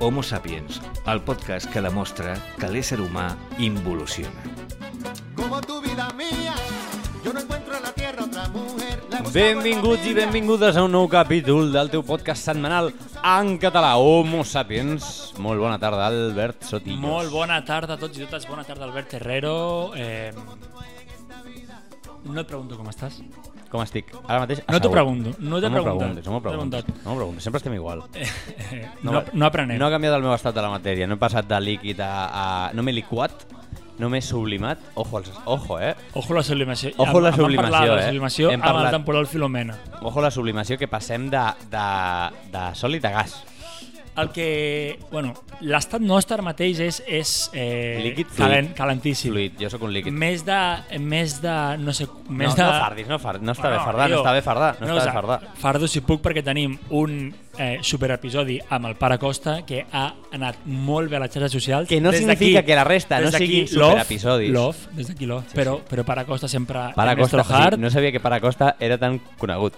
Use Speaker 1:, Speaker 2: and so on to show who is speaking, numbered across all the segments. Speaker 1: Homo Sapiens, el podcast que demostra que l'ésser humà involuciona.
Speaker 2: Como tu vida mía, yo no encuentro en la tierra otra mujer. La he buscado en la
Speaker 3: Benvinguts i
Speaker 2: vida.
Speaker 3: benvingudes a un nou capítol del teu podcast setmanal en català, Homo Sapiens. Molt bona tarda, Albert Sotillos.
Speaker 4: Molt bona tarda a tots i totes. Bona tarda, Albert Herrero. Eh, no et pregunto com estàs.
Speaker 3: Com estic? Ara mateix...
Speaker 4: No t'ho
Speaker 3: assegut.
Speaker 4: pregunto, no t'he
Speaker 3: m'ho
Speaker 4: preguntat,
Speaker 3: preguntes, No m'ho
Speaker 4: no t'he
Speaker 3: preguntes,
Speaker 4: preguntat.
Speaker 3: no m'ho preguntes. Sempre estem igual.
Speaker 4: Eh, no, no, no aprenem.
Speaker 3: No ha canviat el meu estat de la matèria. No he passat de líquid a... a... No m'he liquat, no m'he sublimat. Ojo, als- ojo, eh?
Speaker 4: Ojo a la sublimació.
Speaker 3: Ojo a la
Speaker 4: Em- em van parlar
Speaker 3: sublimació,
Speaker 4: de
Speaker 3: eh?
Speaker 4: la sublimació
Speaker 3: Hem
Speaker 4: amb
Speaker 3: parlat.
Speaker 4: el temporal Filomena.
Speaker 3: Ojo a la sublimació que passem de, de, de sòlid a gas.
Speaker 4: El que... Bueno, l'estat nostre ara mateix és, és eh,
Speaker 3: Líquid fluid.
Speaker 4: calent, calentíssim.
Speaker 3: Fluid, jo sóc un líquid.
Speaker 4: Més de, més de... No sé... Més
Speaker 3: no,
Speaker 4: de...
Speaker 3: no fardis, no fardis. No està bé
Speaker 4: Bueno,
Speaker 3: fardar, no
Speaker 4: tio,
Speaker 3: està bé fardar. No, està
Speaker 4: o
Speaker 3: bé
Speaker 4: sea,
Speaker 3: fardar.
Speaker 4: Fardo si puc perquè tenim un eh, superepisodi amb el pare Costa que ha anat molt bé a les xarxes socials.
Speaker 3: Que no
Speaker 4: Des
Speaker 3: significa
Speaker 4: d'aquí-
Speaker 3: que la resta
Speaker 4: des
Speaker 3: no
Speaker 4: d'aquí,
Speaker 3: siguin
Speaker 4: love,
Speaker 3: superepisodis.
Speaker 4: Love, des d'aquí love, però, però pare Costa sempre...
Speaker 3: Para
Speaker 4: Ernesto
Speaker 3: Costa, o sigui,
Speaker 4: Hart,
Speaker 3: no sabia que Para Costa era tan conegut.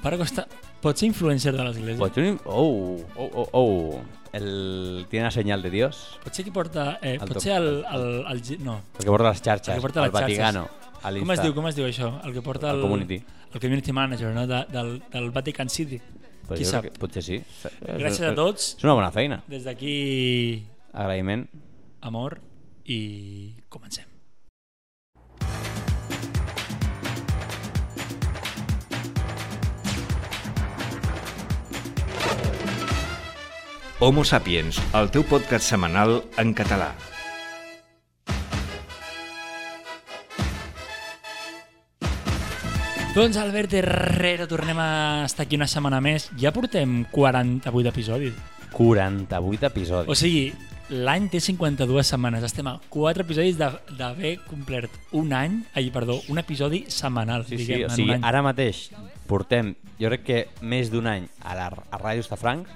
Speaker 4: Pare Costa pot ser influencer de l'església?
Speaker 3: Pots un... Oh, oh, oh, oh. El... Tiene la senyal de Dios.
Speaker 4: Pot ser qui porta... Eh,
Speaker 3: El
Speaker 4: pot
Speaker 3: doc-
Speaker 4: ser el... el, el, gi- no.
Speaker 3: El que porta les xarxes.
Speaker 4: El que porta les
Speaker 3: al Vaticano. A
Speaker 4: Com es
Speaker 3: l'Insta.
Speaker 4: diu, com es diu això? El que porta el...
Speaker 3: El community.
Speaker 4: El community manager, no? De, del, del Vatican City.
Speaker 3: Pues
Speaker 4: qui
Speaker 3: jo crec
Speaker 4: sap?
Speaker 3: que Potser sí.
Speaker 4: Gràcies a tots.
Speaker 3: És una bona feina.
Speaker 4: Des d'aquí...
Speaker 3: Agraïment.
Speaker 4: amor i comencem.
Speaker 1: Homo Sapiens, el teu podcast setmanal en català.
Speaker 4: Doncs Albert Herrero, tornem a estar aquí una setmana més. Ja portem 48 episodis.
Speaker 3: 48 episodis.
Speaker 4: O sigui, l'any té 52 setmanes. Estem a 4 episodis de- d'haver complert un any, ai, perdó, un episodi setmanal,
Speaker 3: Sí, sí,
Speaker 4: diguem,
Speaker 3: o
Speaker 4: en
Speaker 3: sigui,
Speaker 4: un any.
Speaker 3: ara mateix portem, jo crec que més d'un any a, la, a Ràdio Estafrancs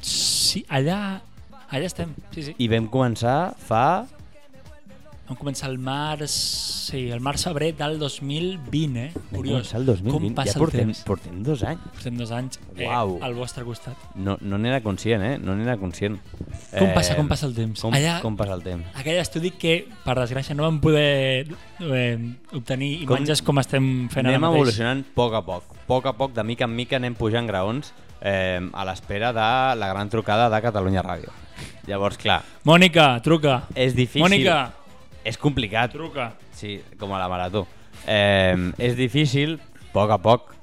Speaker 4: Sí, allà, allà estem, sí, sí.
Speaker 3: i vam començar fa...
Speaker 4: Vam començar el març, sí, el març-abril del 2020, eh?
Speaker 3: Vam
Speaker 4: Curiós.
Speaker 3: començar el 2020.
Speaker 4: Com passa
Speaker 3: ja portem,
Speaker 4: el temps?
Speaker 3: portem dos anys.
Speaker 4: Portem dos anys eh,
Speaker 3: Uau.
Speaker 4: al vostre costat.
Speaker 3: No no n'era conscient, eh? No n'era conscient. Eh,
Speaker 4: Com passa- com passa el temps?
Speaker 3: Com, Allà...
Speaker 4: Allà-
Speaker 3: com passa el temps?
Speaker 4: Aquell estudi que, per desgràcia, no vam poder eh, obtenir
Speaker 3: Com-
Speaker 4: imatges com, estem fent
Speaker 3: anem
Speaker 4: ara mateix.
Speaker 3: evolucionant a poc a poc. A poc a poc, de mica en mica, anem pujant graons eh, a l'espera de la gran trucada de Catalunya Ràdio. Llavors, clar,
Speaker 4: Mònica, truca.
Speaker 3: és difícil...
Speaker 4: Mònica,
Speaker 3: És complicat.
Speaker 4: truca.
Speaker 3: Sí, com a la marató. Eh, és difícil, a poc a poc,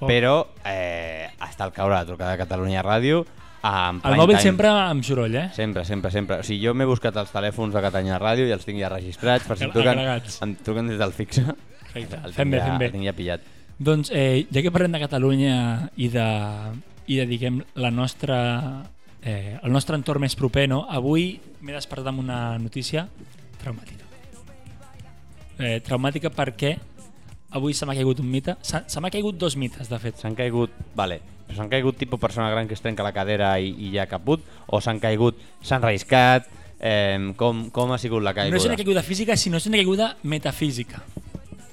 Speaker 3: però eh, hasta el caure la trucada de Catalunya Ràdio en
Speaker 4: El
Speaker 3: prime
Speaker 4: mòbil
Speaker 3: time.
Speaker 4: sempre amb soroll, eh?
Speaker 3: Sempre, sempre, sempre. O sigui, jo m'he buscat els telèfons de Catanya Ràdio i els tinc ja registrats per si em truquen,
Speaker 4: Agregats.
Speaker 3: em truquen des del fixe.
Speaker 4: Perfecte.
Speaker 3: El
Speaker 4: Fem
Speaker 3: tinc,
Speaker 4: bé,
Speaker 3: ja,
Speaker 4: fem
Speaker 3: el
Speaker 4: bé.
Speaker 3: tinc ja pillat.
Speaker 4: Doncs, eh, ja que parlem de Catalunya i de, i de diguem, la nostra, eh, el nostre entorn més proper, no? avui m'he despertat amb una notícia traumàtica. Eh, traumàtica perquè avui se m'ha caigut un mite. Se, se m'ha caigut dos mites, de fet.
Speaker 3: S'han caigut... Vale. però S'han caigut tipus persona gran que es trenca la cadera i, i ja caput? O s'han caigut... S'han relliscat? Eh, com, com ha sigut la
Speaker 4: No és
Speaker 3: caiguda?
Speaker 4: una caiguda física, sinó és una caiguda metafísica.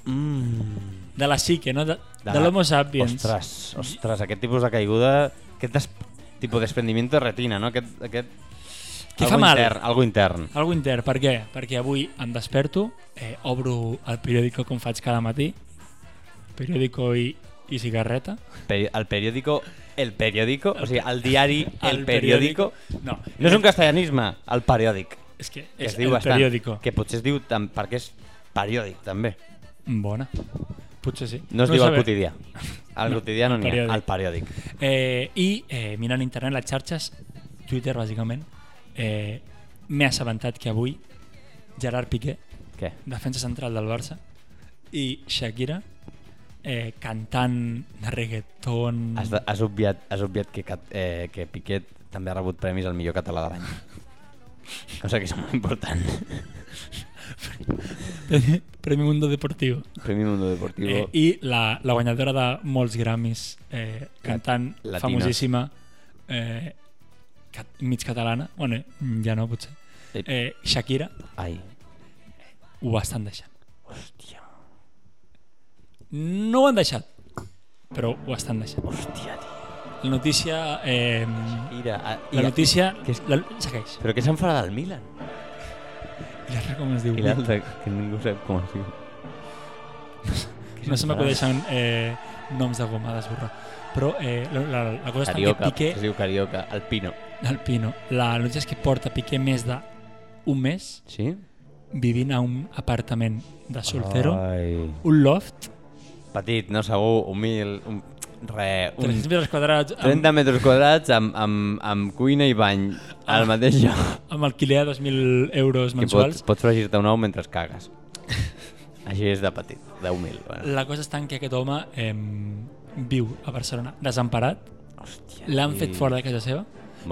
Speaker 3: Mm,
Speaker 4: De la psique, no? De, de, de l'homo sapiens.
Speaker 3: Ah, Ostres, ostres, aquest tipus de caiguda... Aquest des... tipus desprendiment de retina, no? Aquest... aquest...
Speaker 4: Que
Speaker 3: algo
Speaker 4: fa mal.
Speaker 3: Intern, algo intern.
Speaker 4: Algo intern, per què? Perquè avui em desperto, eh, obro el periòdico com faig cada matí, periòdico i, i cigarreta.
Speaker 3: Peri- El periódico... El periódico? O sigui, el diari, el, periódico...
Speaker 4: No,
Speaker 3: No és un castellanisme, el periòdic.
Speaker 4: és que
Speaker 3: Que
Speaker 4: és
Speaker 3: es diu
Speaker 4: el
Speaker 3: bastant.
Speaker 4: periòdico.
Speaker 3: Que potser es diu tam, perquè és periòdic, també.
Speaker 4: Bona. Potser sí.
Speaker 3: No es
Speaker 4: ho
Speaker 3: diu el
Speaker 4: sabré.
Speaker 3: quotidià. El
Speaker 4: No,
Speaker 3: quotidià no
Speaker 4: el
Speaker 3: n'hi ha,
Speaker 4: periòdic.
Speaker 3: el periòdic.
Speaker 4: Eh, I eh, mirant internet, les xarxes, Twitter bàsicament, eh, m'he assabentat que avui Gerard Piqué
Speaker 3: Què?
Speaker 4: defensa central del Barça, i Shakira eh, cantant de reggaeton...
Speaker 3: Has, has, obviat, has obviat que, Cat- eh, que Piquet també ha rebut premis al millor català de l'any. Cosa que és molt important.
Speaker 4: de... Premi Mundo Deportivo.
Speaker 3: Premi Mundo Deportivo.
Speaker 4: Eh, I la, la guanyadora de molts Grammys, eh, cantant
Speaker 3: Latinos.
Speaker 4: famosíssima, eh, cat, mig catalana, bueno, ja no potser,
Speaker 3: Eh.
Speaker 4: eh, Shakira,
Speaker 3: Ai,
Speaker 4: ho estan deixant.
Speaker 3: hòstia,
Speaker 4: No ho han deixat, però ho estan deixant.
Speaker 3: hòstia, tio.
Speaker 4: la notícia... Eh,
Speaker 3: Ira, a,
Speaker 4: la
Speaker 3: Ira-
Speaker 4: notícia...
Speaker 3: que és-
Speaker 4: La, segueix.
Speaker 3: Però que s'enfada del Milan.
Speaker 4: I l'altre com es diu?
Speaker 3: I l'altre, que ningú sap com es diu.
Speaker 4: No se m'acudeixen eh, noms de goma d'esborrar. Però eh, la, la, la cosa està
Speaker 3: Carioca,
Speaker 4: que Piqué...
Speaker 3: es diu Carioca, Alpino.
Speaker 4: El Pino. La notícia és que porta Piqué més de un mes
Speaker 3: Sí?
Speaker 4: vivint a un apartament de soltero,
Speaker 3: Ai.
Speaker 4: un loft,
Speaker 3: Petit, no segur, humil, un, re, un
Speaker 4: 300 metres quadrats, amb,
Speaker 3: 30 metres quadrats amb, amb, amb cuina i bany al mateix lloc.
Speaker 4: amb alquiler a 2.000 euros
Speaker 3: Que pots,
Speaker 4: Ah. mensuals.
Speaker 3: pots fregir-te un ou mentre cagues. Així és de petit, de humil. Bueno.
Speaker 4: La cosa està en que aquest home eh, viu a Barcelona desemparat,
Speaker 3: Hòstia,
Speaker 4: l'han
Speaker 3: i-
Speaker 4: fet fora de casa seva,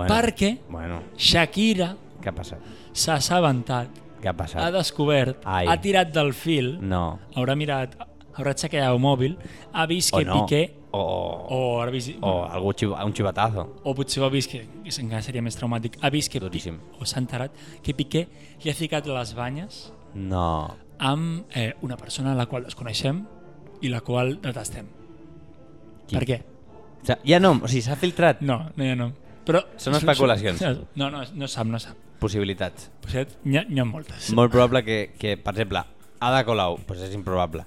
Speaker 4: perquè
Speaker 3: Bueno,
Speaker 4: Shakira
Speaker 3: què ha passat?
Speaker 4: s'ha assabentat,
Speaker 3: Què ha
Speaker 4: ha
Speaker 3: passat?
Speaker 4: descobert,
Speaker 3: Ai. Mm.
Speaker 4: ha tirat del fil,
Speaker 3: No.
Speaker 4: haurà mirat, haurà aixecat el mòbil, ha vist
Speaker 3: O
Speaker 4: que
Speaker 3: no.
Speaker 4: Piqué...
Speaker 3: O, o,
Speaker 4: O, ha vist,
Speaker 3: o algú xiv, un xivatazo.
Speaker 4: o potser ho ha vist, que, que encara seria més traumàtic, ha vist que, Pi-
Speaker 3: Duríssim.
Speaker 4: o s'ha enterat, que Piqué li ha ficat les banyes
Speaker 3: No.
Speaker 4: amb eh, una persona a la qual desconeixem i la qual detestem.
Speaker 3: Qui?
Speaker 4: Per què?
Speaker 3: O sigui, ja no, o sigui, s'ha filtrat
Speaker 4: No, no, ja no. Però,
Speaker 3: Són especulacions.
Speaker 4: No, no, no sap, no sap.
Speaker 3: possibilitats.
Speaker 4: Potser N'hi ha, n'hi ha moltes.
Speaker 3: Molt probable que, que per exemple, Ada Colau, doncs és improbable.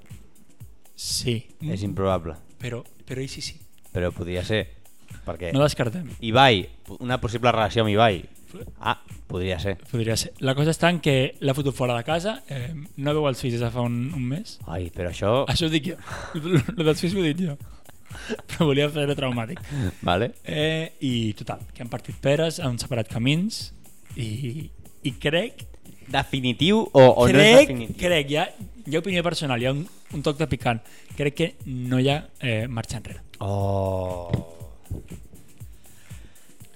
Speaker 4: Sí,
Speaker 3: És improbable,
Speaker 4: però, però i sí, sí.
Speaker 3: però podria ser. Perquè
Speaker 4: No descartem.
Speaker 3: Ibai, una possible relació amb Ibai. Ah, podria ser.
Speaker 4: Podria ser. La cosa està en que l'ha fotut fora de casa, eh, no veu els fills des de fa un, un mes,
Speaker 3: Ai, però això...
Speaker 4: Això ho dic jo. Lo dels fills ho he dit jo. Però volia fer-ho traumàtic.
Speaker 3: Vale.
Speaker 4: Eh, I total, que han partit peres, han separat camins i, i crec,
Speaker 3: Definitiu o, o no és
Speaker 4: crec,
Speaker 3: definitiu?
Speaker 4: crec, hi ha, hi ha opinió personal, hi ha un, un toc de picant. Crec que no hi ha eh, marxa enrere.
Speaker 3: Oh.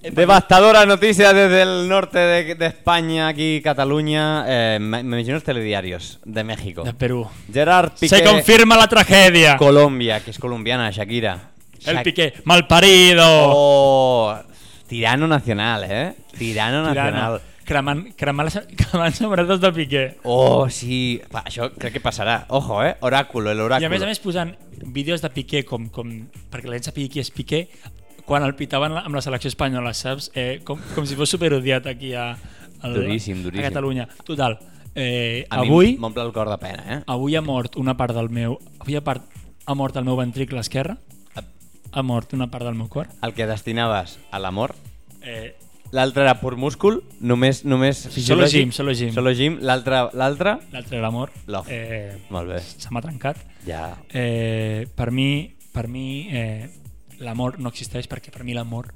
Speaker 3: Devastadora noticia desde el norte de, de España, aquí Cataluña. Eh, me, me menciono los telediarios de México.
Speaker 4: De Perú.
Speaker 3: Gerard Piqué.
Speaker 4: Se confirma la tragedia.
Speaker 3: Colombia, que es colombiana, Shakira.
Speaker 4: El
Speaker 3: Shak-
Speaker 4: Piqué, malparido.
Speaker 3: Oh, tirano nacional, ¿eh? Tirano nacional.
Speaker 4: Cremant, cremant, les- cremant samarretes de Piqué.
Speaker 3: Oh, sí. Va, això crec que passarà. Ojo, eh? Oràculo, el
Speaker 4: I
Speaker 3: oràculo.
Speaker 4: a més a més posant vídeos de Piqué com, com perquè la gent sàpiga qui és Piqué quan el pitaven la- amb la selecció espanyola, saps? Eh, com, com si fos superodiat aquí a, al,
Speaker 3: Duríssim, duríssim.
Speaker 4: a Catalunya. Total, eh,
Speaker 3: A mi
Speaker 4: avui,
Speaker 3: M'omple el cor de pena, eh?
Speaker 4: avui ha mort una part del meu... Avui ha, part, ha mort el meu ventricle esquerre,
Speaker 3: Ah.
Speaker 4: ha mort una part del meu cor.
Speaker 3: El que destinaves a l'amor
Speaker 4: Eh,
Speaker 3: L'altre era pur múscul, només, només fisiològic.
Speaker 4: gym, solo gym.
Speaker 3: Solo gym. L'altre, l'altre...
Speaker 4: L'altre era l'amor.
Speaker 3: Love.
Speaker 4: Eh,
Speaker 3: Molt bé.
Speaker 4: se m'ha trencat.
Speaker 3: Ja.
Speaker 4: Eh, per mi, per mi eh, l'amor no existeix perquè per mi l'amor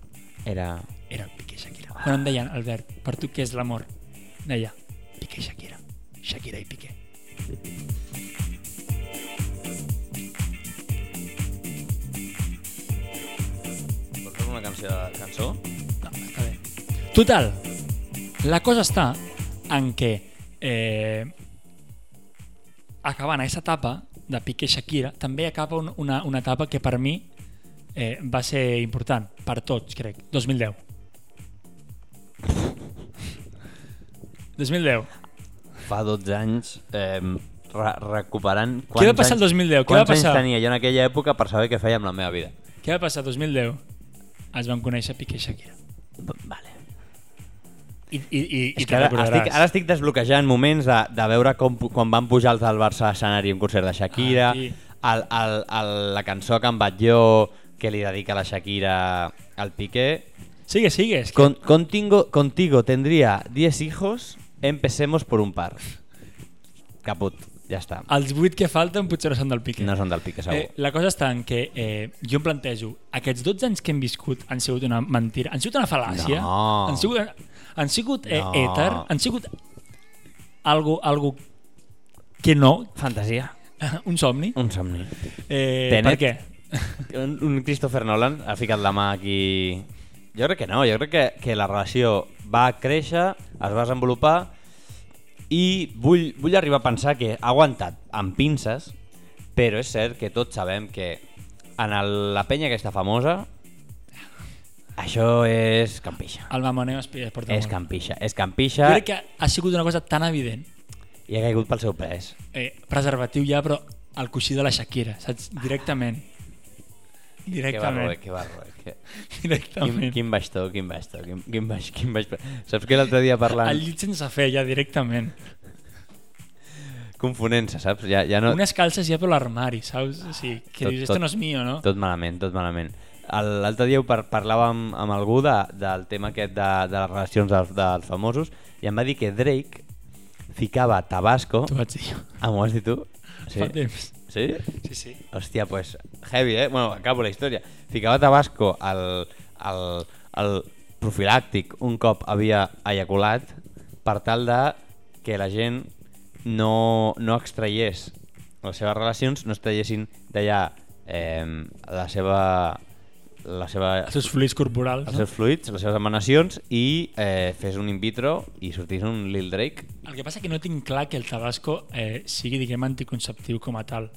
Speaker 3: Era...
Speaker 4: era el Piqué Shakira. Quan em deien, Albert, per tu què és l'amor? Deia, Piqué Shakira. Shakira i Piqué.
Speaker 3: Vols fer una canció de cançó?
Speaker 4: No, està bé. Total, la cosa està en que eh, acabant aquesta etapa de Piqué Shakira, també acaba un, una, una etapa que per mi eh, va ser important, per tots, crec, 2010. 2010.
Speaker 3: Fa 12 anys eh, re recuperant...
Speaker 4: va passar el 2010? Què va
Speaker 3: quants
Speaker 4: passar?
Speaker 3: anys tenia jo en aquella època per saber què feia amb la meva vida?
Speaker 4: Què va passar? 2010. Es van conèixer Piqué i Shakira.
Speaker 3: Vale.
Speaker 4: I, i, i, i te'n
Speaker 3: És que ara
Speaker 4: recordaràs.
Speaker 3: estic, ara estic desbloquejant moments de, de veure com, pu- quan van pujar els del Barça a l'escenari un concert de Shakira,
Speaker 4: Ah, sí.
Speaker 3: el, el, el, la cançó que em vaig jo que li dedica la Shakira al Piqué,
Speaker 4: Sigue, sigue. És que
Speaker 3: Con- contigo, contigo tendría 10 hijos, empecemos por un par. Caput, ja està.
Speaker 4: els 8 que falten potser no són del Piqué.
Speaker 3: No són del Piqué, segur.
Speaker 4: Ah, Eh, la cosa està en que eh, jo em plantejo aquests 12 anys que hem viscut han sigut una mentira, han sigut una fal·làcia,
Speaker 3: No.
Speaker 4: han sigut, han sigut eh,
Speaker 3: No.
Speaker 4: èter, han sigut algo, algo que no,
Speaker 3: Fantasia.
Speaker 4: un somni.
Speaker 3: Un somni.
Speaker 4: Eh,
Speaker 3: Tenet.
Speaker 4: per què?
Speaker 3: Un, un Christopher Nolan ha ficat la mà aquí... Jo crec que no, jo crec que, que la relació va créixer, es va desenvolupar i vull, vull arribar a pensar que ha aguantat amb pinces, però és cert que tots sabem que en el, la penya aquesta famosa això és campixa.
Speaker 4: El mamoneo es, es porta
Speaker 3: És
Speaker 4: molt.
Speaker 3: campixa, és
Speaker 4: Jo
Speaker 3: campixa
Speaker 4: crec que ha sigut una cosa tan evident
Speaker 3: i ha caigut pel seu pes. Ah.
Speaker 4: eh, preservatiu ja, però al coixí de la Shakira, saps? Directament.
Speaker 3: Que barroer,
Speaker 4: Directament.
Speaker 3: que barroer. Que... Quin,
Speaker 4: Directament.
Speaker 3: quin baix to, quin baix to, quin, quin baix, quin baix... Saps que l'altre dia parlant,
Speaker 4: Al llit sense fer, ja, directament.
Speaker 3: confonent-se, saps? Ja, ja no...
Speaker 4: Unes calces ja per l'armari, saps? O sigui, que
Speaker 3: Tot-
Speaker 4: dius,
Speaker 3: tot-
Speaker 4: esto no és mío, no?
Speaker 3: Tot malament, tot malament. El- L'altre dia ho par parlàvem amb algú de, del tema aquest de, de les relacions dels, dels famosos i em va dir que Drake ficava Tabasco...
Speaker 4: T'ho vaig dir jo.
Speaker 3: Ah, m'ho has dit tu?
Speaker 4: Sí. Fa temps.
Speaker 3: Sí?
Speaker 4: Sí, sí.
Speaker 3: Hòstia, pues heavy, eh? Bueno, acabo la història. Ficava Tabasco al, al, al profilàctic un cop havia eyaculat per tal de que la gent no, no extraiés les seves relacions, no extraiessin d'allà eh, la seva... La seva
Speaker 4: Els seus fluids corporals,
Speaker 3: els
Speaker 4: no?
Speaker 3: seus fluids, les seves emanacions i eh, fes un in vitro i sortís un Lil Drake
Speaker 4: El que passa que no tinc clar que el tabasco eh, sigui, diguem, anticonceptiu com a tal.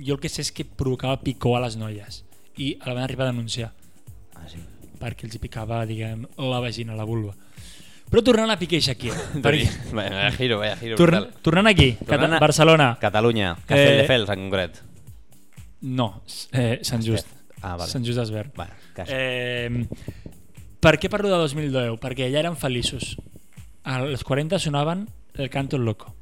Speaker 4: Jo el que sé és que provocava picor a les noies i la van arribar a denunciar
Speaker 3: ah, sí.
Speaker 4: perquè els hi picava, diguem, la vagina, la vulva. Però tornant a Piqué i Shakira. perquè,
Speaker 3: Vaya giro, vaya giro
Speaker 4: torn,
Speaker 3: brutal.
Speaker 4: tornant aquí,
Speaker 3: Tornant
Speaker 4: Cata-
Speaker 3: a-
Speaker 4: Barcelona.
Speaker 3: Catalunya, Castelldefels en concret.
Speaker 4: No, s- eh, Sant Just.
Speaker 3: Ah, vale.
Speaker 4: Sant Just d'Esvern.
Speaker 3: Vale, cas.
Speaker 4: Eh, per què parlo de 2010? Perquè allà eren feliços. Als 40 sonaven el canto loco.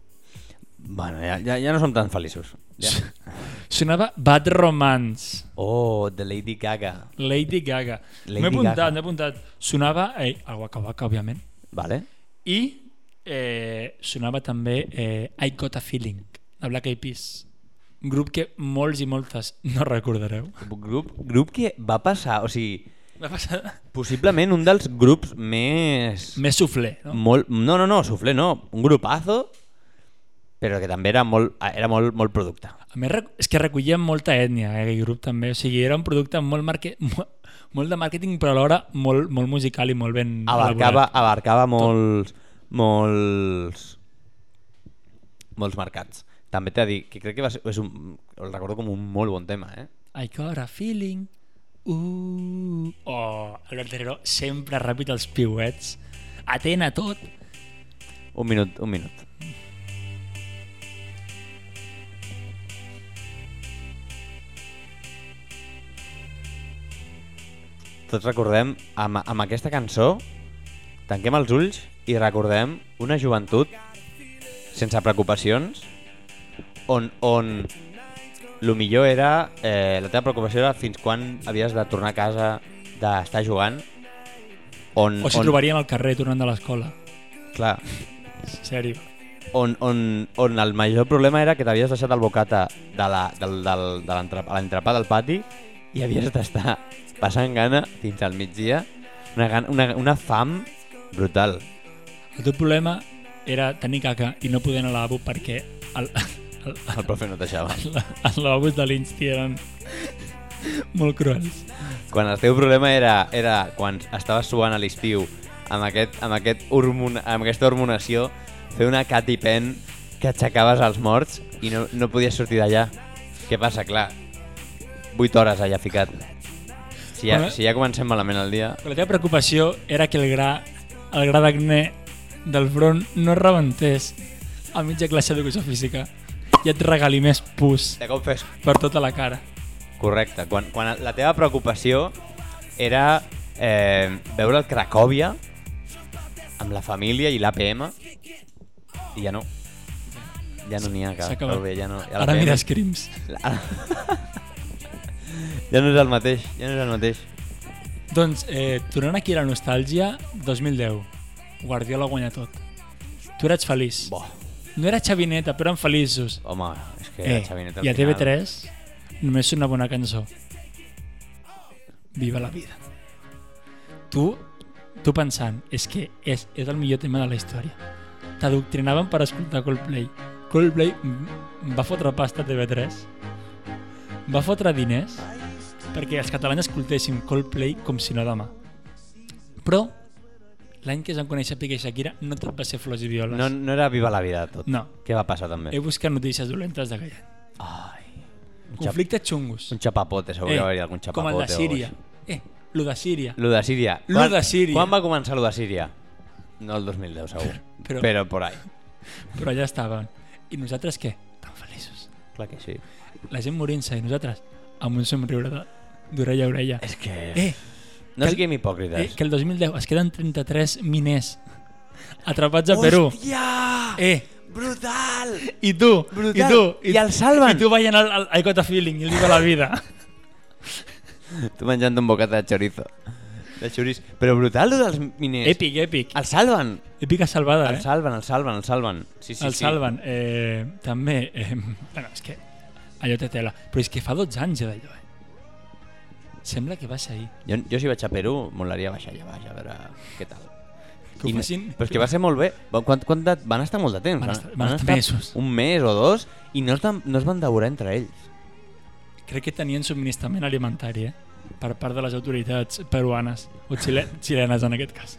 Speaker 3: Bueno, ja, ja, ja no som tan feliços. Ja.
Speaker 4: Sonava Bad Romance.
Speaker 3: Oh, de Lady Gaga.
Speaker 4: Lady Gaga.
Speaker 3: Lady
Speaker 4: M'he
Speaker 3: Gaga.
Speaker 4: apuntat, m'he apuntat. Sonava eh, el Waka Waka, òbviament.
Speaker 3: Vale.
Speaker 4: I eh, sonava també eh, I Got a Feeling, de Black Eyed Peas. Un grup que molts i moltes no recordareu.
Speaker 3: Grup, grup que va passar, o sigui,
Speaker 4: La passada.
Speaker 3: possiblement un dels grups més...
Speaker 4: Més suflé, no?
Speaker 3: Molt, no, no, no, suflé, no. Un grupazo, però que també era molt, era molt, molt producte.
Speaker 4: A més, rec- és que recollien molta ètnia, eh, aquell grup també. O sigui, era un producte molt, marque... mo- molt de màrqueting, però alhora molt, molt musical i molt ben
Speaker 3: Abarcava,
Speaker 4: elaborat.
Speaker 3: abarcava molts, molts, molts mercats. També t'he de dir que crec que va ser, és un, el recordo com un molt bon tema, eh?
Speaker 4: I got a feeling. Uh. Oh, Albert Herrero sempre ràpid als piuets. Atent a tot.
Speaker 3: Un minut, un minut. Tots recordem, amb, amb aquesta cançó, tanquem els ulls i recordem una joventut sense preocupacions, on, on lo millor era, eh, la teva preocupació era fins quan havies de tornar a casa d'estar jugant, on,
Speaker 4: O si
Speaker 3: on,
Speaker 4: trobarien al carrer tornant de l'escola.
Speaker 3: clar,
Speaker 4: Sèrio.
Speaker 3: on, on, on el major problema era que t'havies deixat el bocata de la- del- del- de l'entrap- a l'entrepà del pati i havies d'estar passant gana fins al migdia, una, gana, una, una fam brutal.
Speaker 4: El teu problema era tenir caca i no poder anar al lavabo perquè el, el,
Speaker 3: El profe no deixava.
Speaker 4: el, els lavabos de l'insti eren molt cruels.
Speaker 3: Quan el teu problema era, era quan estaves suant a l'estiu amb, aquest, amb, aquest hormon, amb aquesta hormonació, fer una Katy Pen que aixecaves els morts i no, no podies sortir d'allà. Què passa? Clar, 8 hores allà ficat. Si ja,
Speaker 4: Bueno,
Speaker 3: si ja comencem malament el dia...
Speaker 4: Però la teva preocupació era que el gra, el gra d'acné del front no es rebentés a mitja classe d'educació física i et regalí més pus
Speaker 3: De cop fes...
Speaker 4: per tota la cara.
Speaker 3: Correcte. Quan, quan la teva preocupació era eh, veure el Cracòvia amb la família i l'APM i ja no. Ja no n'hi ha
Speaker 4: S'ha
Speaker 3: cap.
Speaker 4: acabat.
Speaker 3: Cracòvia, Ja no, ja
Speaker 4: Ara
Speaker 3: l'APM
Speaker 4: mires crims.
Speaker 3: Ja no és el mateix, ja no és el mateix.
Speaker 4: Doncs, eh, tornant aquí a la nostàlgia, 2010. Guardiola guanya tot. Tu eres feliç.
Speaker 3: Bo,
Speaker 4: No era Xavineta, però eren feliços.
Speaker 3: home, és que la Xavineta al
Speaker 4: Eh, I a
Speaker 3: final-
Speaker 4: TV3 només una bona cançó. Viva la vida. Tu, tu pensant, és que és, és el millor tema de la història. T'adoctrinaven per escoltar Coldplay. Coldplay mm, va fotre pasta a TV3, va fotre diners perquè els catalans escoltessin Coldplay com si no demà. Però l'any que es van conèixer Piqué i Shakira no tot va ser flors i violes.
Speaker 3: No, no era viva la vida tot.
Speaker 4: no. Eh,
Speaker 3: Què va passar també?
Speaker 4: He buscat notícies dolentes d'aquell any.
Speaker 3: Ai, un, xap,
Speaker 4: Conflictes xungos.
Speaker 3: un xapapote, segur que va haver algun
Speaker 4: eh, com
Speaker 3: xapapote.
Speaker 4: el de
Speaker 3: o
Speaker 4: Síria.
Speaker 3: alguna cosa.
Speaker 4: Eh, lo de Síria.
Speaker 3: Lo de Síria.
Speaker 4: Lo
Speaker 3: Quan-
Speaker 4: de Síria.
Speaker 3: Quan va començar lo de Síria? No el 2010, segur.
Speaker 4: Però-
Speaker 3: Però, però por ahí.
Speaker 4: Però allà estaven. I nosaltres què? Tan feliços.
Speaker 3: Clar que sí.
Speaker 4: La gent morint-se i nosaltres amb un somriure de... d'orella a orella.
Speaker 3: És que...
Speaker 4: Eh,
Speaker 3: no
Speaker 4: que-
Speaker 3: siguem
Speaker 4: eh,
Speaker 3: hipòcrites.
Speaker 4: que el 2010 es queden 33 miners atrapats a Perú.
Speaker 3: Hòstia!
Speaker 4: Eh,
Speaker 3: Brutal!
Speaker 4: i tu,
Speaker 3: Brutal.
Speaker 4: i tu,
Speaker 3: I el salven.
Speaker 4: I tu veient el, el I Got a Feeling i el Viva la Vida.
Speaker 3: Tu menjant un bocata de chorizo. De xurís. Però brutal, lo dels miners.
Speaker 4: èpic, èpic.
Speaker 3: El salven.
Speaker 4: Èpica salvada,
Speaker 3: El
Speaker 4: eh?
Speaker 3: salven, el salven, el salven. Sí, sí,
Speaker 4: el
Speaker 3: sí.
Speaker 4: salven. Eh, també, eh, bueno, és que allò té tela. Però és que fa 12 anys ja d'allò, eh? Sembla que va ser ahir.
Speaker 3: Jo, jo si vaig a Perú, molaria baixar allà baix, a veure què tal.
Speaker 4: Que ho
Speaker 3: I-
Speaker 4: facin...
Speaker 3: Però és que va ser molt bé. Va- Quant, quant de, van estar molt de temps.
Speaker 4: Van estar- van estar mesos.
Speaker 3: Un mes o dos i no es, van- no es van devorar entre ells.
Speaker 4: Crec que tenien subministrament alimentari, eh? Per part de les autoritats peruanes, o xile, xilenes en aquest cas.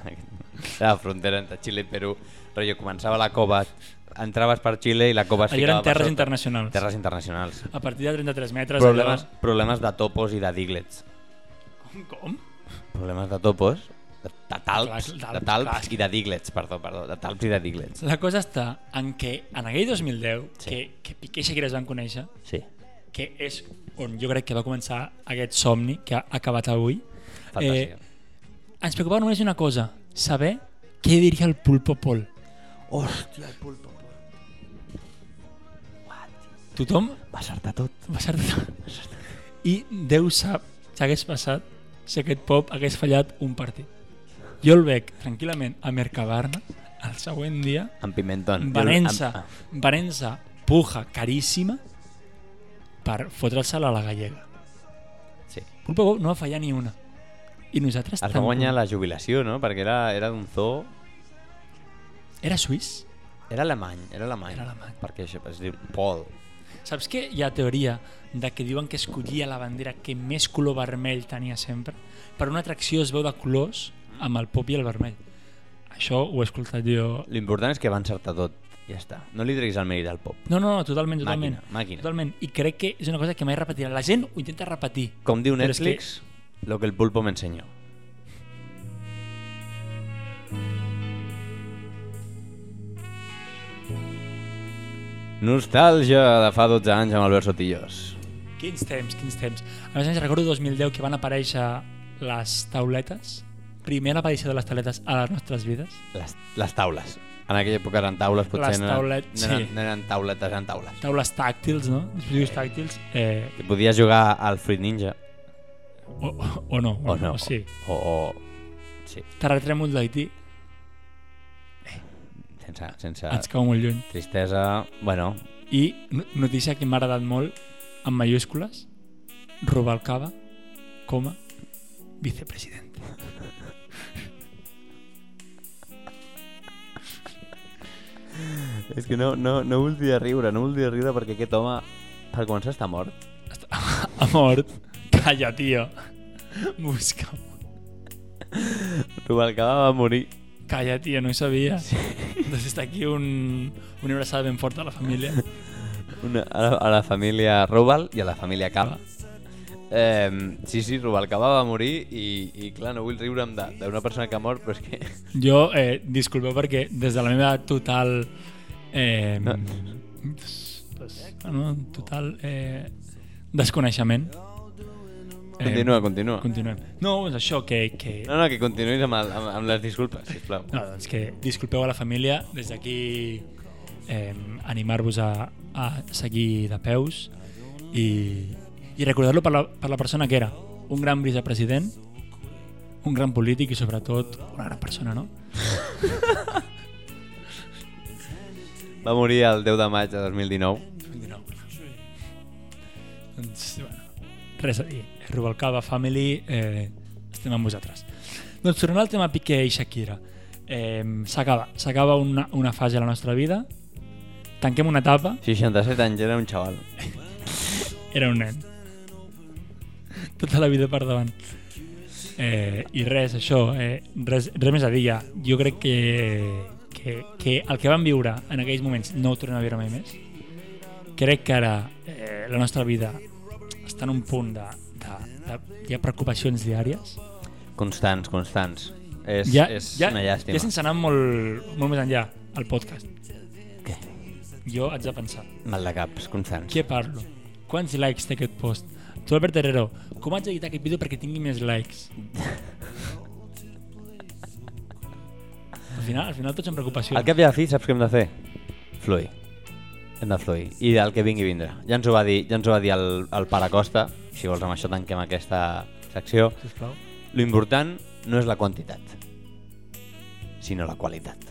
Speaker 3: La frontera entre Xile i Perú. Rotllo, començava la cova, entraves per Xile i la cova es
Speaker 4: Allò eren
Speaker 3: ficava per
Speaker 4: terres
Speaker 3: sota.
Speaker 4: internacionals.
Speaker 3: Terres internacionals.
Speaker 4: A partir de 33 metres...
Speaker 3: Problemes, problemes de topos i de diglets.
Speaker 4: Allò... Com?
Speaker 3: Problemes de topos, de, de talps,
Speaker 4: Clar,
Speaker 3: de
Speaker 4: talps,
Speaker 3: talps
Speaker 4: clar.
Speaker 3: i de diglets, perdó, perdó, de talps i de diglets.
Speaker 4: La cosa està en que en aquell 2010,
Speaker 3: Sí.
Speaker 4: sí. que, que Piqué i Shakira es van conèixer,
Speaker 3: Sí.
Speaker 4: que és on jo crec que va començar aquest somni que ha acabat avui, eh,
Speaker 3: Fantàsia.
Speaker 4: ens preocupava només una cosa, saber què diria el Pulpo Pol.
Speaker 3: Hòstia, el pulpo.
Speaker 4: Tothom
Speaker 3: Va acertar tot.
Speaker 4: va ser... I Déu sap si hagués passat si aquest pop hagués fallat un partit. Jo el veig tranquil·lament a Mercabarna el següent dia,
Speaker 3: En Pimenton.
Speaker 4: venent-se,
Speaker 3: Amb- ah,
Speaker 4: venent-se puja caríssima per fotre-se-la a la gallega.
Speaker 3: Sí.
Speaker 4: Pulpo Bob no va fallar ni una. I nosaltres
Speaker 3: Es va
Speaker 4: tant.
Speaker 3: guanyar la jubilació, no? Perquè era, era d'un zoo...
Speaker 4: Era suís?
Speaker 3: Era alemany, era alemany.
Speaker 4: Era alemany.
Speaker 3: Perquè això es diu Paul.
Speaker 4: Saps que hi ha teoria de que diuen que escollia la bandera que més color vermell tenia sempre? Per una atracció es veu de colors amb el pop i el vermell. Això ho he escoltat jo...
Speaker 3: L'important és que va encertar tot. Ja està. No li treguis el mèrit al pop.
Speaker 4: No, no, no, totalment, totalment.
Speaker 3: Màquina, màquina.
Speaker 4: Totalment. I crec que és una cosa que mai repetirà. La gent ho intenta repetir.
Speaker 3: Com diu
Speaker 4: Però és
Speaker 3: Netflix, lo que el pulpo me enseñó. Nostàlgia de fa 12 anys amb Albert Sotillos.
Speaker 4: Quins temps, quins temps. A més a més, recordo 2010 que van aparèixer les tauletes. Primera aparició de les tauletes a les nostres vides.
Speaker 3: Les, les taules. En aquella època eren taules, potser
Speaker 4: Les
Speaker 3: no, eren-
Speaker 4: taulet-
Speaker 3: no, eren,
Speaker 4: sí.
Speaker 3: no eren tauletes, eren taules.
Speaker 4: Taules tàctils, no? Dispositius tàctils. Eh,
Speaker 3: Que podies jugar al Fruit Ninja,
Speaker 4: o, o, o no,
Speaker 3: o
Speaker 4: Mm,
Speaker 3: no.
Speaker 4: O sí.
Speaker 3: O, o... Sí,
Speaker 4: Terratrèmol d'Haití
Speaker 3: sense, sense
Speaker 4: ens cau molt lluny.
Speaker 3: tristesa... Bueno,
Speaker 4: I no- notícia que m'ha agradat molt, en mayúscules, Rubalcaba, coma, vicepresident.
Speaker 3: És que no, no, no voldria riure, no voldria riure perquè aquest home, per començar, està mort.
Speaker 4: Ha mort. Calla, tio. Busca-ho.
Speaker 3: Rubalcaba va morir.
Speaker 4: Calla, tio, no ho sabia. Sí. Doncs està aquí un, una abraçada ben forta a la família.
Speaker 3: Una, a, la, a la família Rubal i a la família Cava. Eh, sí, sí, Rubalcaba va morir i, i clar, no vull riure'm de- d'una persona que ha mort, però és que...
Speaker 4: Jo, eh, disculpeu perquè des de la meva total... Eh,
Speaker 3: No.
Speaker 4: no. no, total eh, desconeixement. Eh,
Speaker 3: Continua, continua.
Speaker 4: Continuem. No, és això que... que...
Speaker 3: No, no, que continuïs amb, el, amb, amb les disculpes, sisplau.
Speaker 4: No, doncs que disculpeu a la família, des d'aquí eh, animar-vos a, a seguir de peus i, i recordar-lo per, la, per la persona que era, un gran vicepresident, un gran polític i sobretot una gran persona, no?
Speaker 3: Va morir el 10 de maig de 2019.
Speaker 4: 29. Doncs, bueno, res a dir. Rubalcaba Family, eh, estem amb vosaltres. Doncs tornant al tema Piqué i Shakira. Eh, S'acaba. S'acaba una, una fase de la nostra vida. Tanquem una etapa.
Speaker 3: 67 anys, era un xaval.
Speaker 4: Era un nen. Tota la vida per davant. Eh, I res, això, eh, res, res més a dir ja. Jo crec que, que, que el que vam viure en aquells moments no ho tornem a viure mai més. Crec que ara eh, la nostra vida està en un punt de, de, de hi ha preocupacions diàries.
Speaker 3: Constants, constants. És,
Speaker 4: ja,
Speaker 3: és
Speaker 4: ja,
Speaker 3: una llàstima.
Speaker 4: Ja sense anar molt, molt més enllà, al podcast. Què? Jo haig de pensar.
Speaker 3: Mal de caps, constants.
Speaker 4: Què parlo? Quants likes té aquest post? Tu, Albert Herrero, com haig d'editar aquest vídeo perquè tingui més likes? al final, al final tots en preocupació.
Speaker 3: Al cap i a la fi, saps què hem de fer? Fluir. Hem de fluir. I el que vingui, vindrà. Ja ens ho va dir, ja ens ho va dir el, el Pare Costa. Si vols, amb això tanquem aquesta secció.
Speaker 4: Sisplau.
Speaker 3: Lo important no és la quantitat, sinó la qualitat.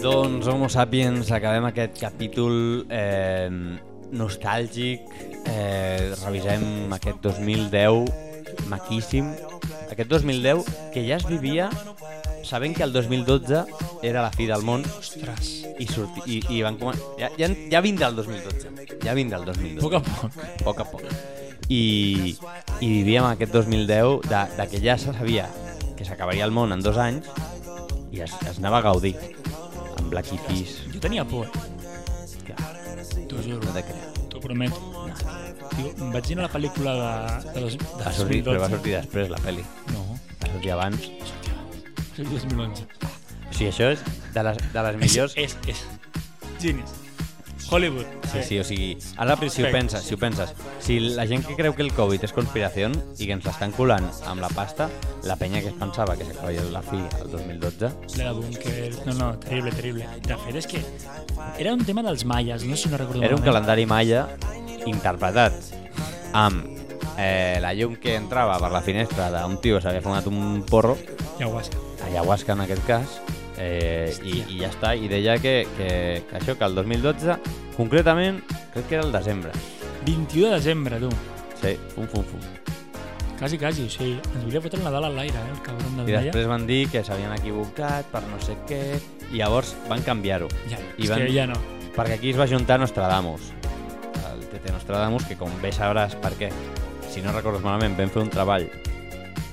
Speaker 3: Doncs, Homo Sapiens, acabem aquest capítol eh, nostàlgic. Eh, revisem aquest 2010 maquíssim. Aquest 2010 que ja es vivia sabent que el 2012 era la fi del món
Speaker 4: Ostres.
Speaker 3: i, sorti, i, i van comen... ja, ja, ja vindrà el 2012. Ja vindrà el 2012
Speaker 4: A poc a poc.
Speaker 3: a poc a poc. I, i vivíem aquest 2010 de, de que ja se sabia que s'acabaria el món en dos anys i es, es anava a gaudir amb Black Eyed Peas.
Speaker 4: Jo tenia por, eh?
Speaker 3: Que,
Speaker 4: t'ho
Speaker 3: no
Speaker 4: juro.
Speaker 3: te creus.
Speaker 4: T'ho prometo. Tio, em vaig anar a la pel·lícula de, de, dos, de
Speaker 3: Va sortir, però va
Speaker 4: 2012.
Speaker 3: sortir després la pel·li.
Speaker 4: No,
Speaker 3: Va sortir abans.
Speaker 4: és el 2011.
Speaker 3: O sigui, això és de les, de les millors...
Speaker 4: És, és, és. Genius. Hollywood.
Speaker 3: Sí, sí, o sigui, ara si ho penses, si ho penses, si la gent que creu que el Covid és conspiració i que ens l'estan colant amb la pasta, la penya que es pensava que s'acabaria la fi el 2012,
Speaker 4: Ple de búnquers. No, no, terrible, terrible. De fet, és que era un tema dels maies, no sé si no recordo
Speaker 3: Era un
Speaker 4: malament.
Speaker 3: calendari maia interpretat amb eh, la llum que entrava per la finestra d'un tio que s'havia fumat un porro,
Speaker 4: Ayahuasca.
Speaker 3: ayahuasca en aquest cas, eh, i, i ja està, i deia que, que, que això, que el 2012, concretament, crec que era el desembre.
Speaker 4: 21 de desembre, tu.
Speaker 3: Sí, fum, fum, fum.
Speaker 4: Quasi, quasi. O sigui, ens volia fotre el Nadal a l'aire, eh, el cabron del
Speaker 3: I
Speaker 4: Maia.
Speaker 3: després van dir que s'havien equivocat per no sé què, i llavors van canviar-ho.
Speaker 4: Ja,
Speaker 3: i
Speaker 4: és
Speaker 3: van-
Speaker 4: que ja no.
Speaker 3: Perquè aquí es va juntar Nostradamus, el TT Nostradamus, que com bé sabràs per què, si no recordes malament, vam fer un treball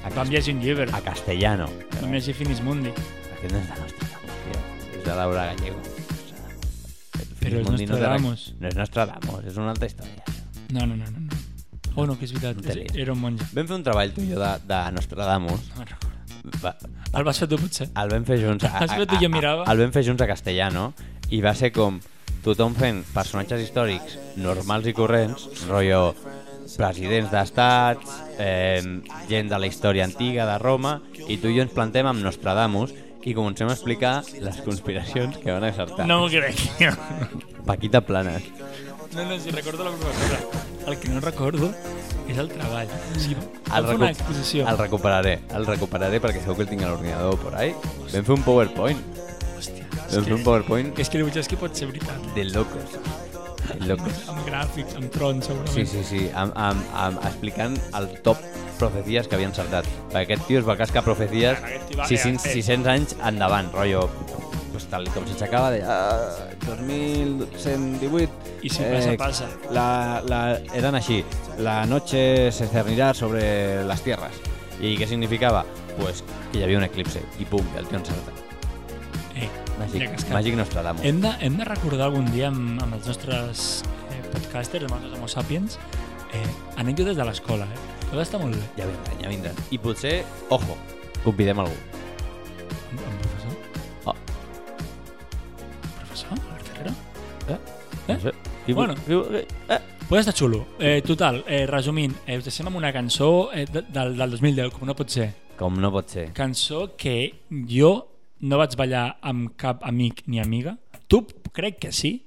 Speaker 3: a,
Speaker 4: Vam llegir un llibre.
Speaker 3: a castellano.
Speaker 4: Vam llegir Finis Mundi.
Speaker 3: Aquest no és de Nostradamus, tio. És de Laura Gallego. El
Speaker 4: Però és
Speaker 3: Mundi no de-
Speaker 4: Nostradamus.
Speaker 3: No és Nostradamus, és una altra història.
Speaker 4: No, no, no, no. no. Oh, no, que és veritat.
Speaker 3: No te
Speaker 4: és-
Speaker 3: liis.
Speaker 4: Era un monjo.
Speaker 3: Vam fer un treball tu i jo de, de Nostradamus.
Speaker 4: No me'n recordo.
Speaker 3: Va,
Speaker 4: El vas fer tu, potser?
Speaker 3: el vam fer junts a, a,
Speaker 4: Has fet i jo mirava.
Speaker 3: el vam fer junts a castellano i va ser com tothom fent personatges històrics normals i corrents rotllo presidents d'estats eh, gent de la història antiga de Roma i tu i jo ens plantem amb Nostradamus i comencem a explicar les conspiracions que van acertar
Speaker 4: No m'ho crec.
Speaker 3: Paquita Planes
Speaker 4: No, no, si recordo la professora. El que no recordo és el treball. O sigui,
Speaker 3: el,
Speaker 4: vam fer una
Speaker 3: recu-
Speaker 4: exposició.
Speaker 3: el recuperaré el recuperaré perquè segur que el tinc a l'ordinador por ahí vam fer un powerpoint
Speaker 4: Hòstia, és
Speaker 3: vam fer un
Speaker 4: que,
Speaker 3: powerpoint
Speaker 4: és que Lewis que pot ser veritat.
Speaker 3: de locos de locos
Speaker 4: Amb gràfics, amb trons,
Speaker 3: Sí,
Speaker 4: segurament.
Speaker 3: sí, sí, amb, amb, amb, explicant el top profecies que havien saltat. Perquè aquest tio es va cascar profecies
Speaker 4: Bueno, aquest tio va
Speaker 3: 600,
Speaker 4: fer-
Speaker 3: 600 anys endavant, rotllo pues tal com s'aixecava de ah, 2118
Speaker 4: I si passa, passa.
Speaker 3: eh, la, la, eren així la noche se cernirà sobre les tierras i què significava? pues que hi havia un eclipse i pum, i el tio encerta
Speaker 4: Eh, ja
Speaker 3: màgic,
Speaker 4: cascat.
Speaker 3: màgic Nostradamus
Speaker 4: Hem de, hem de recordar algun dia amb, amb els nostres eh, podcasters, amb els nostres homo sapiens, eh, anècdotes de l'escola. Eh? Tot està molt bé.
Speaker 3: ja vindran, ja vindran i potser, ojo, convidem algú
Speaker 4: Amb, amb professor?
Speaker 3: oh,
Speaker 4: Professor? Albert Herrero?
Speaker 3: eh?
Speaker 4: Eh?
Speaker 3: No sé. Qui,
Speaker 4: Bueno.
Speaker 3: bueno. qui, eh?
Speaker 4: Pues està xulo. Eh, total, eh, resumint, eh, us deixem amb una cançó eh, de- del, del 2010, com no pot ser.
Speaker 3: Com no pot ser.
Speaker 4: Cançó que jo no vaig ballar amb cap amic ni amiga. Tu crec que sí,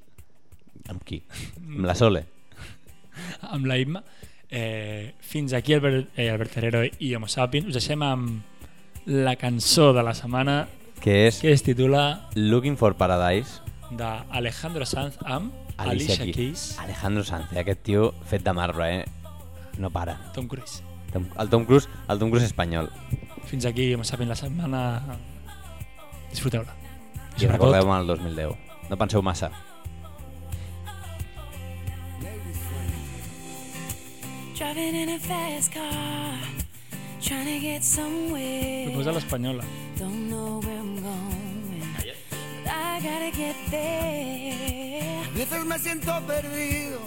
Speaker 3: Amb qui? Amb la Sole.
Speaker 4: amb la Imma. Eh, fins aquí Albert, eh, Albert Herrero i Homo Sapiens. Us deixem amb la cançó de la setmana
Speaker 3: Que és
Speaker 4: que es titula
Speaker 3: Looking for Paradise.
Speaker 4: d'Alejandro Sanz amb
Speaker 3: Alicia,
Speaker 4: Alicia, Keys,
Speaker 3: Alejandro Sanz. eh? Aquest tio fet de marbre, eh? No para.
Speaker 4: Tom Cruise.
Speaker 3: Tom- El Tom Cruise, el Tom Cruise espanyol.
Speaker 4: Fins aquí, Homo Sapiens, la setmana... Disfruteu-la.
Speaker 3: I recordeu-me el 2010. No penseu massa.
Speaker 5: Driving in a fast car, trying to get somewhere.
Speaker 4: Proposa l'espanyola.
Speaker 5: Don't know where I'm going. But I I gotta get there.
Speaker 2: A veces me siento perdido,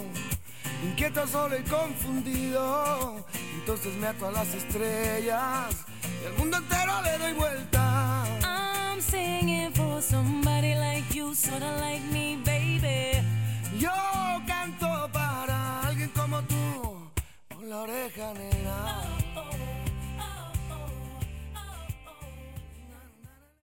Speaker 2: inquieto, solo y confundido. Entonces me ato a las estrellas y al mundo entero le doy vuelta.
Speaker 5: I'm singing for somebody like you, sorta like me, baby.
Speaker 2: Yo canto para alguien como tú, con la oreja negra.